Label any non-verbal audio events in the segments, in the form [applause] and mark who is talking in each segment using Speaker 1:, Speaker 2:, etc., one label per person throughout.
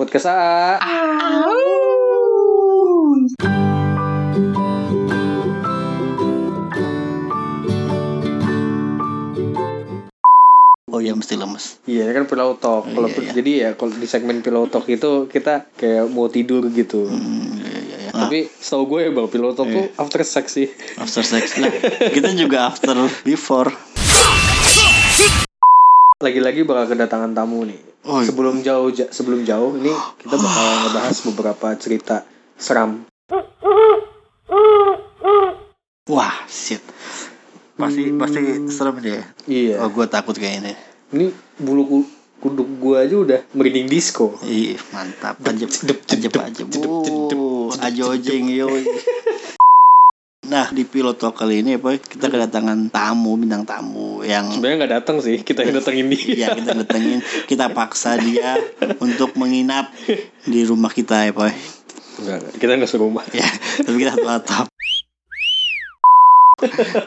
Speaker 1: Podcast AA.
Speaker 2: Oh iya mesti lemes.
Speaker 1: Iya, ini kan pillow talk.
Speaker 2: Iya,
Speaker 1: Kalau
Speaker 2: iya.
Speaker 1: jadi ya kalau di segmen pillow talk itu kita kayak mau tidur gitu.
Speaker 2: Hmm, iya, iya, iya. Ah,
Speaker 1: Tapi setahu gue ya Bang, pillow talk tuh after sex sih. [laughs]
Speaker 2: after sex lah. Kita juga after before.
Speaker 1: Lagi-lagi bakal kedatangan tamu nih.
Speaker 2: Oh, iya. Oh.
Speaker 1: Sebelum jauh ja- sebelum jauh ini kita bakal ngebahas beberapa cerita seram.
Speaker 2: Wah, shit. Pasti pasti serem deh.
Speaker 1: Iya.
Speaker 2: Oh, gue takut kayaknya.
Speaker 1: Ini bulu ku- kuduk gue aja udah merinding disco.
Speaker 2: Ih, mantap. Ajep,
Speaker 1: Jedep,
Speaker 2: ajep,
Speaker 1: jedep,
Speaker 2: ajep.
Speaker 1: jedep, jedep,
Speaker 2: Wuh, Ajojing, yoi. Nah, di pilot talk kali ini ya, Boy, kita kedatangan tamu, bintang tamu yang
Speaker 1: Sebenarnya nggak datang sih, kita yang datangin dia.
Speaker 2: ya kita datengin, kita paksa dia untuk menginap di rumah kita ya, Boy.
Speaker 1: Enggak, enggak. kita [laughs] nggak serumah.
Speaker 2: ya tapi kita satu atap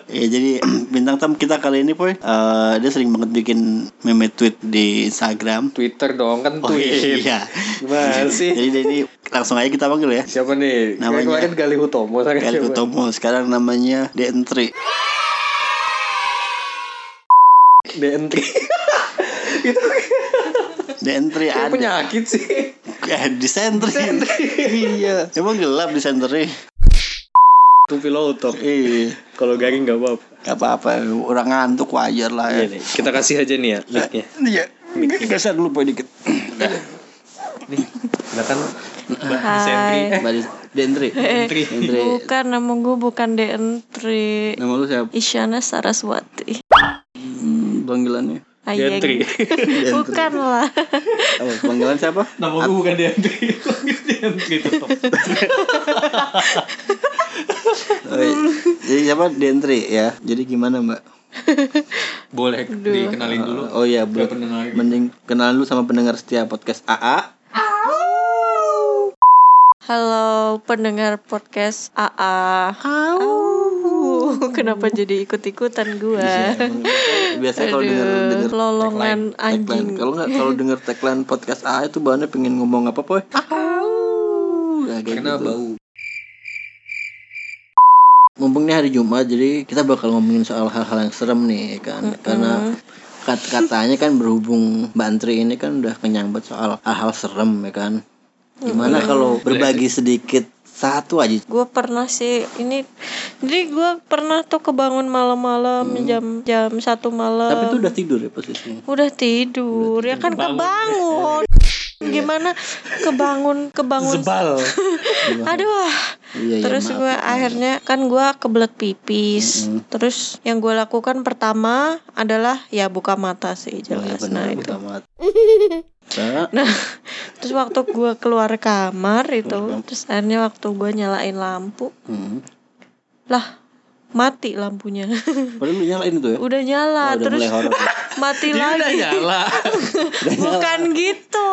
Speaker 2: ya jadi [clears throat] bintang tamu kita kali ini poy eh, dia sering banget bikin meme tweet di Instagram
Speaker 1: Twitter dong kan
Speaker 2: oh
Speaker 1: tweet.
Speaker 2: iya [laughs]
Speaker 1: Gimana sih?
Speaker 2: jadi jadi langsung aja kita panggil
Speaker 1: [laughs]
Speaker 2: ya
Speaker 1: Siapa nih? Kayak
Speaker 2: Namanya-
Speaker 1: Kemarin Galih Utomo. sekarang
Speaker 2: Kali
Speaker 1: siapa?
Speaker 2: ketemu sekarang namanya Dentri
Speaker 1: DNT [laughs] itu
Speaker 2: Dentri
Speaker 1: kayak
Speaker 2: ada
Speaker 1: penyakit sih
Speaker 2: eh, di sentri [laughs] iya emang gelap di sentri
Speaker 1: itu pilotok
Speaker 2: iya
Speaker 1: kalau garing nggak apa-apa
Speaker 2: gak apa-apa orang ngantuk wajar lah
Speaker 1: Iya
Speaker 2: ya
Speaker 1: nih, kita kasih aja nih ya mic-nya
Speaker 2: iya geser dulu poy dikit
Speaker 1: silakan Mbak
Speaker 3: Hai. Iya,
Speaker 1: Sentri eh
Speaker 2: Baris Dentri
Speaker 1: Sentri
Speaker 2: Dentri
Speaker 3: Bukan nama gue bukan Dentri
Speaker 2: nama lu siapa
Speaker 3: Isyana Saraswati
Speaker 2: panggilannya
Speaker 3: Ayeng.
Speaker 1: Dentri
Speaker 3: Bukan lah [laughs]
Speaker 2: apa Oh, panggilan siapa
Speaker 1: nama gue bukan Dentri Lanjut Dentri tetap
Speaker 2: Eh, [laughs] jadi siapa Dentri ya jadi gimana mbak
Speaker 1: boleh dikenalin dulu
Speaker 2: oh iya belum
Speaker 1: pendengar.
Speaker 2: mending kenalan lu sama pendengar setia podcast AA
Speaker 3: Halo pendengar podcast AA Au. Kenapa jadi ikut-ikutan
Speaker 2: Eh.
Speaker 3: gue
Speaker 2: Iya, biasanya kalau denger denger
Speaker 3: Lolongan
Speaker 2: tagline
Speaker 3: anjing
Speaker 2: kalau nggak kalau denger tagline podcast AA itu bahannya pengen ngomong apa poy Nah, kayak
Speaker 1: karena
Speaker 2: gitu.
Speaker 1: bau
Speaker 2: mumpung ini hari Jumat jadi kita bakal ngomongin soal hal-hal yang serem nih kan karena kat- katanya kan berhubung Mbak Antri ini kan udah kenyang banget soal hal-hal serem ya kan gimana kalau berbagi sedikit satu aja
Speaker 3: Gue pernah sih ini Jadi gue pernah tuh kebangun malam-malam Jam jam satu malam
Speaker 2: Hmm. tapi itu udah tidur ya posisinya
Speaker 3: Udah tidur, ya kan kebangun.
Speaker 2: [laughs] Iya.
Speaker 3: Gimana kebangun kebangun
Speaker 1: zebal
Speaker 3: aduh ah.
Speaker 2: iya iya
Speaker 3: terus gue akhirnya kan gue kebelet pipis terus yang gue lakukan pertama adalah ya buka mata sih
Speaker 2: Iya,
Speaker 3: jelas nah itu [laughs]
Speaker 2: amat
Speaker 3: nah [laughs] terus waktu gue keluar kamar itu terus akhirnya waktu gue nyalain lampu
Speaker 2: hmm.
Speaker 3: lah mati lampunya [laughs]
Speaker 2: padahal lu nyalain itu ya
Speaker 3: udah nyala
Speaker 2: udah
Speaker 3: terus
Speaker 2: mulai horor
Speaker 3: [laughs]
Speaker 2: ya.
Speaker 3: mati
Speaker 1: udah
Speaker 3: lagi
Speaker 1: nyala
Speaker 3: bukan gitu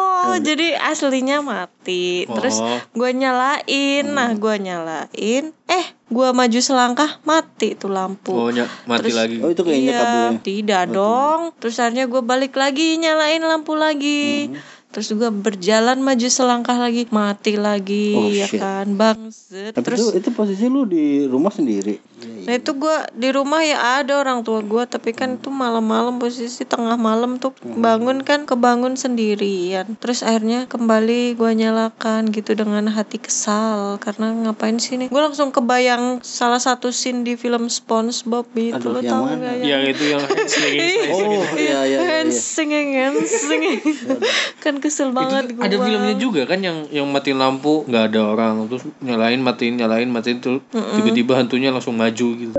Speaker 3: jadi aslinya mati terus
Speaker 2: Oh.
Speaker 3: gue nyalain nah
Speaker 2: Hmm.
Speaker 3: gue nyalain eh gue maju selangkah mati tuh lampu
Speaker 1: oh ny- mati
Speaker 3: Terus-
Speaker 1: lagi
Speaker 2: oh itu kayaknya kabelnya
Speaker 3: tidak dong terus akhirnya gue balik lagi nyalain lampu lagi
Speaker 2: Hmm.
Speaker 3: terus gue berjalan maju selangkah lagi mati lagi
Speaker 2: Oh,
Speaker 3: ya
Speaker 2: shit.
Speaker 3: kan bangset
Speaker 2: tapi
Speaker 3: terus
Speaker 2: itu, itu posisi lu di rumah sendiri
Speaker 3: Nah itu gue di rumah ya ada orang tua gue tapi kan itu malam-malam posisi tengah malam tuh bangun kan kebangun sendirian terus akhirnya kembali gue nyalakan gitu dengan hati kesal karena ngapain sih nih gue langsung kebayang salah satu scene di film SpongeBob itu
Speaker 2: Aduh,
Speaker 3: lo
Speaker 2: yang
Speaker 3: tau
Speaker 2: mana?
Speaker 3: gak ya
Speaker 1: yang Iya, itu
Speaker 3: [laughs]
Speaker 1: yang sering
Speaker 2: oh iya iya iya,
Speaker 3: Hand
Speaker 2: iya.
Speaker 3: singing, hand singing. [laughs] kan kesel banget gue
Speaker 1: ada filmnya juga kan yang yang matiin lampu nggak ada orang terus nyalain matiin nyalain matiin tuh tiba-tiba hantunya langsung maju gitu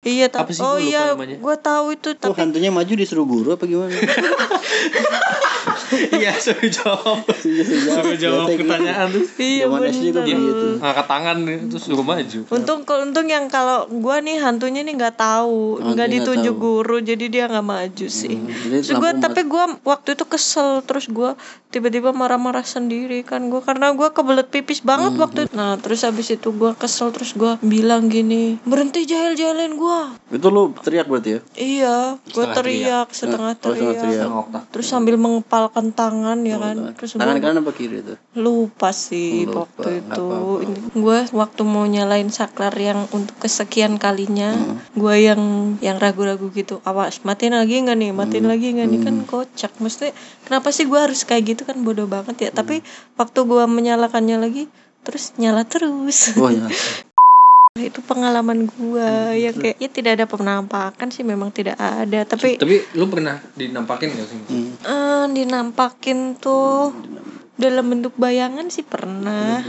Speaker 3: Iya ta-
Speaker 1: Apa sih?
Speaker 3: Oh
Speaker 1: Gua lupa
Speaker 3: iya
Speaker 1: namanya.
Speaker 3: gue tahu itu
Speaker 2: Tuh
Speaker 3: tapi [laughs]
Speaker 2: hantunya maju disuruh guru apa gimana?
Speaker 1: Iya, suruh jawab. Suruh jawab pertanyaan tuh.
Speaker 3: Iya
Speaker 2: Zaman SD tuh
Speaker 3: bener.
Speaker 2: begitu.
Speaker 1: Ngangkat tangan nih, terus suruh maju.
Speaker 3: Untung untung yang kalau gua nih hantunya nih nggak tahu,
Speaker 2: Oh,
Speaker 3: nggak
Speaker 2: dia nggak
Speaker 3: ditunjuk
Speaker 2: tahu. Hmm,
Speaker 3: guru, jadi dia nggak maju sih.
Speaker 2: jadi
Speaker 3: Terus gua,
Speaker 2: lampu
Speaker 3: tapi gua waktu itu kesel, terus gua tiba-tiba marah-marah sendiri kan gua karena gua kebelet pipis banget
Speaker 2: Hmm,
Speaker 3: waktu itu. Nah terus habis itu gua kesel, terus gua bilang gini, berhenti jahil-jahilin gua.
Speaker 2: Itu lu teriak berarti ya?
Speaker 3: Iya, gua teriak, setengah
Speaker 2: Oh, setengah
Speaker 3: teriak.
Speaker 2: teriak. Oh,
Speaker 3: Terus sambil mengepalkan tangan ya kan, terus gua
Speaker 2: Tangan kanan apa kiri itu?
Speaker 3: lupa sih waktu itu gue waktu mau nyalain saklar yang untuk kesekian kalinya gue yang yang ragu-ragu gitu awas matiin lagi nggak nih matiin lagi nggak nih kan kocak mesti kenapa sih gue harus kayak gitu kan bodoh banget ya tapi waktu gue menyalakannya lagi terus nyala terus
Speaker 2: Oh ya.
Speaker 3: itu pengalaman gue ya kayak ya tidak ada penampakan sih memang tidak ada tapi
Speaker 1: Tapi lu pernah dinampakin gak sih?
Speaker 3: eh, dinampakin tuh dalam bentuk bayangan sih pernah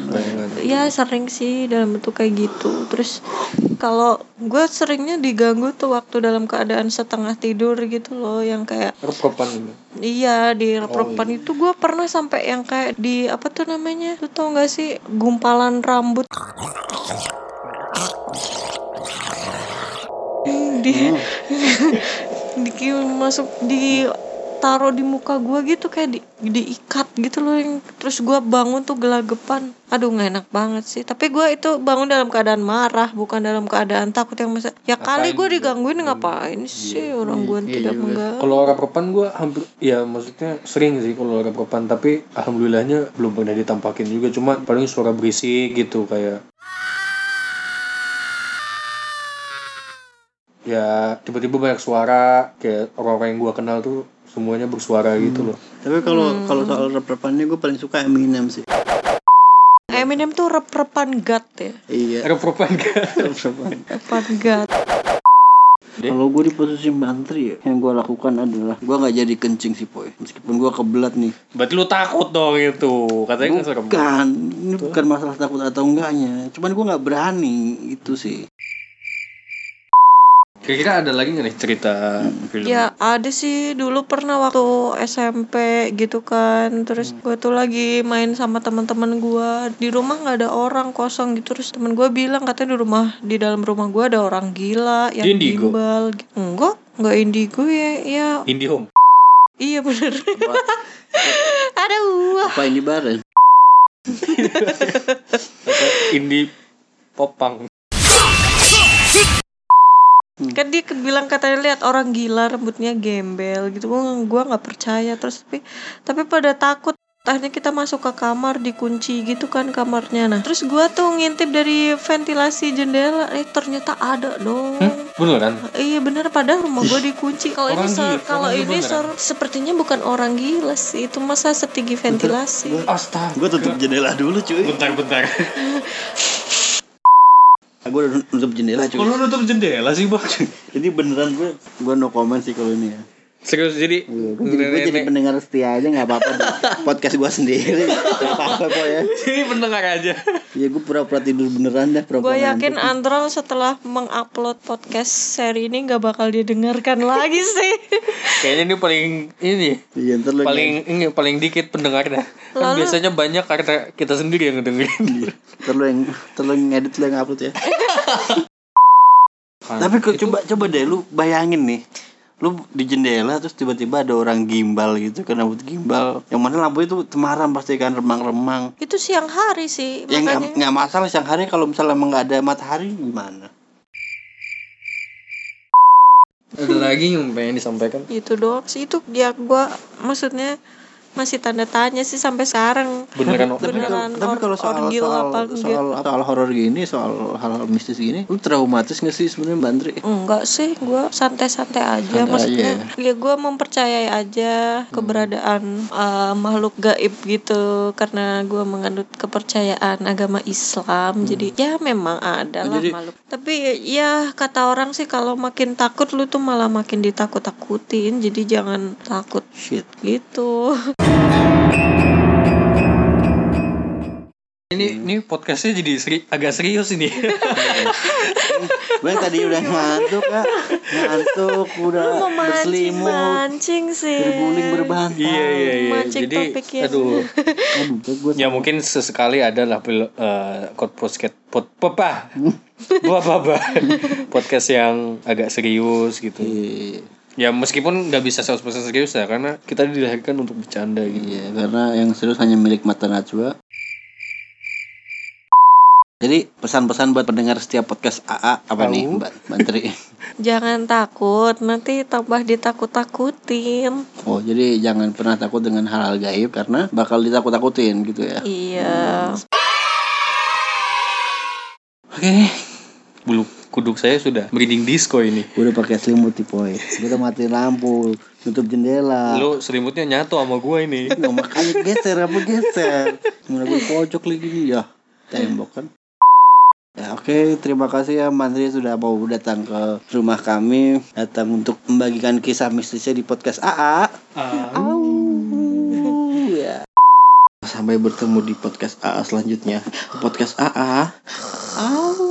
Speaker 3: ya sering sih dalam bentuk kayak gitu terus kalau gue seringnya diganggu tuh waktu dalam keadaan setengah tidur gitu loh yang kayak
Speaker 1: Rep-repan gitu.
Speaker 3: iya di repan itu gue pernah sampai yang kayak di apa tuh namanya lu tau gak sih gumpalan rambut [laughs] di di masuk di taruh di muka gua gitu kayak di diikat gitu loh yang terus gua bangun tuh gelagapan aduh nggak enak banget sih tapi gua itu bangun dalam keadaan marah bukan dalam keadaan takut yang masa ya kali gua digangguin ngapain Iya. sih orang gua tidak mengganggu
Speaker 1: Kalau rep-repan gue hampir, ya maksudnya sering sih kalau rep-repan. Tapi alhamdulillahnya belum pernah ditampakin juga. Cuma paling suara berisik gitu kayak. Ya tiba-tiba banyak suara kayak orang-orang yang gue kenal tuh semuanya bersuara gitu loh.
Speaker 2: Tapi kalau kalau soal rep-repannya gue paling suka Eminem sih.
Speaker 3: Eminem tuh rep-repan gat ya
Speaker 2: Iya,
Speaker 1: [laughs] Rep-repan kan?
Speaker 2: rep-repan.
Speaker 3: repan gat
Speaker 2: Kalau gue di posisi mantri ya, yang gue lakukan adalah gue nggak jadi kencing sih poy, meskipun gue kebelat nih.
Speaker 1: Berarti lu takut dong itu. Katanya nggak serem.
Speaker 2: Bukan, ini bukan masalah takut atau enggaknya, cuman gue nggak berani itu sih.
Speaker 1: Kira-kira ada lagi nggak nih cerita film?
Speaker 3: Ya ada sih dulu pernah waktu SMP gitu kan Terus
Speaker 1: Hmm.
Speaker 3: gue tuh lagi main sama teman-teman gue Di rumah gak ada orang kosong gitu Terus temen gue bilang katanya di rumah Di dalam rumah gue ada orang gila Yang
Speaker 1: Di Indigo?
Speaker 3: gimbal gitu. Enggak, enggak indigo ya Ya
Speaker 1: Indie Home.
Speaker 3: iya bener [laughs] Ada uah
Speaker 2: Apa ini bareng?
Speaker 1: Atau Indie Popang.
Speaker 3: Kan dia ke- bilang katanya lihat orang gila rambutnya gembel gitu Gue gua gak percaya terus tapi Tapi pada takut akhirnya kita masuk ke kamar dikunci gitu kan kamarnya nah terus gua tuh ngintip dari ventilasi jendela eh ternyata ada dong
Speaker 1: Beneran?
Speaker 3: iya bener padahal rumah gua dikunci kalau ini
Speaker 1: Orang
Speaker 3: sor-
Speaker 1: gila,
Speaker 3: kalau
Speaker 1: orang
Speaker 3: ini
Speaker 1: beneran.
Speaker 3: sor- sepertinya bukan orang gila sih itu masa setinggi ventilasi
Speaker 1: Astaga.
Speaker 2: Gue tutup jendela dulu cuy.
Speaker 1: Bentar-bentar.
Speaker 2: Gue udah tutup jendela
Speaker 1: Kok
Speaker 2: cuy.
Speaker 1: Oh, lu nutup jendela sih bang?
Speaker 2: Jadi beneran gue, gue no comment sih kalau ini ya.
Speaker 1: Serius jadi
Speaker 2: Gue jadi, gua jadi
Speaker 1: nenek-
Speaker 2: pendengar setia aja nggak apa-apa deh. podcast gue sendiri. Gak apa-apa poy ya.
Speaker 1: [laughs] jadi pendengar aja.
Speaker 2: Ya gue pura-pura tidur beneran dah.
Speaker 3: Gue
Speaker 2: Pura-pura
Speaker 3: yakin Andral setelah mengupload podcast seri ini nggak bakal didengarkan [laughs] lagi sih.
Speaker 1: Kayaknya ini paling ini
Speaker 2: ngantuk. Iya ntar lu
Speaker 1: paling ini paling dikit pendengarnya. Kan
Speaker 3: Lalu-
Speaker 1: biasanya banyak karena kita sendiri yang ngedengerin.
Speaker 2: Ntar lu yang ntar lu yang ngedit lu yang upload ya.
Speaker 1: Kan.
Speaker 2: Tapi kok coba coba deh lu bayangin nih. Lu di jendela terus tiba-tiba ada orang gimbal gitu kan rambut gimbal. Yang mana lampu itu temaram pasti kan remang-remang.
Speaker 3: itu siang hari sih
Speaker 2: Yang nggak
Speaker 3: makanya.
Speaker 2: nggak masalah siang hari kalau misalnya emang nggak ada matahari gimana?
Speaker 1: Ada lagi yang pengen disampaikan?
Speaker 3: itu Gitu doang sih itu dia gua maksudnya masih tanda tanya sih sampai sekarang
Speaker 1: Beneran
Speaker 3: Tapi- Beneran
Speaker 2: tapi kalau
Speaker 3: or-
Speaker 2: soal
Speaker 3: orgil
Speaker 2: soal
Speaker 3: apa gitu?
Speaker 2: soal, soal horor gini, soal hal-hal mistis gini, lu traumatis gak sih sebenarnya Mbak Andri?
Speaker 3: enggak sih gua santai-santai aja
Speaker 2: Santai
Speaker 3: maksudnya ya gua mempercayai aja keberadaan eh, makhluk gaib gitu karena gua menganut kepercayaan agama Islam jadi ya memang ada lah makhluk tapi ya kata orang sih kalau makin takut lu tuh malah makin ditakut-takutin jadi jangan takut
Speaker 2: Shit.
Speaker 3: gitu
Speaker 1: [laughs] Ini ini podcastnya jadi seri- agak serius ini.
Speaker 2: Bang tadi udah ngantuk kak Ngantuk udah
Speaker 3: Lu mau mancing
Speaker 2: berselimut
Speaker 3: mancing sih
Speaker 2: Berguling berbantai
Speaker 1: Iya iya iya.
Speaker 3: Mancing
Speaker 1: Jadi
Speaker 3: topik ya.
Speaker 1: aduh.
Speaker 2: Aduh kak gue
Speaker 1: Ya mungkin sesekali ada lah pil- eh, kot podcast pot papa. Buah papa. podcast yang agak serius gitu.
Speaker 2: Iya.
Speaker 1: Ya meskipun nggak bisa 100% serius ya karena kita dilahirkan untuk bercanda gitu.
Speaker 2: Iya karena yang serius hanya milik mata najwa Jadi pesan-pesan buat pendengar setiap podcast AA Apa nih mbak Mbak [laughs] Tri
Speaker 3: Jangan takut, nanti tambah ditakut-takutin.
Speaker 2: Oh jadi jangan pernah takut dengan hal-hal gaib Karena bakal ditakut-takutin gitu ya
Speaker 3: Iya.
Speaker 2: Oke
Speaker 1: Bulu kuduk saya sudah merinding disco ini.
Speaker 2: Gue udah pakai selimut tipoy Gue udah matiin lampu Tutup jendela
Speaker 1: Lu selimutnya nyatu sama gua ini.
Speaker 2: [laughs] Nggak makanya geser apa geser Mana gue pojok lagi nih ya Tembok kan Ya, Oke, terima kasih ya Mandri sudah mau datang ke rumah kami Datang untuk membagikan kisah mistisnya di podcast AA Au, ya. Sampai bertemu di podcast AA selanjutnya Podcast AA Au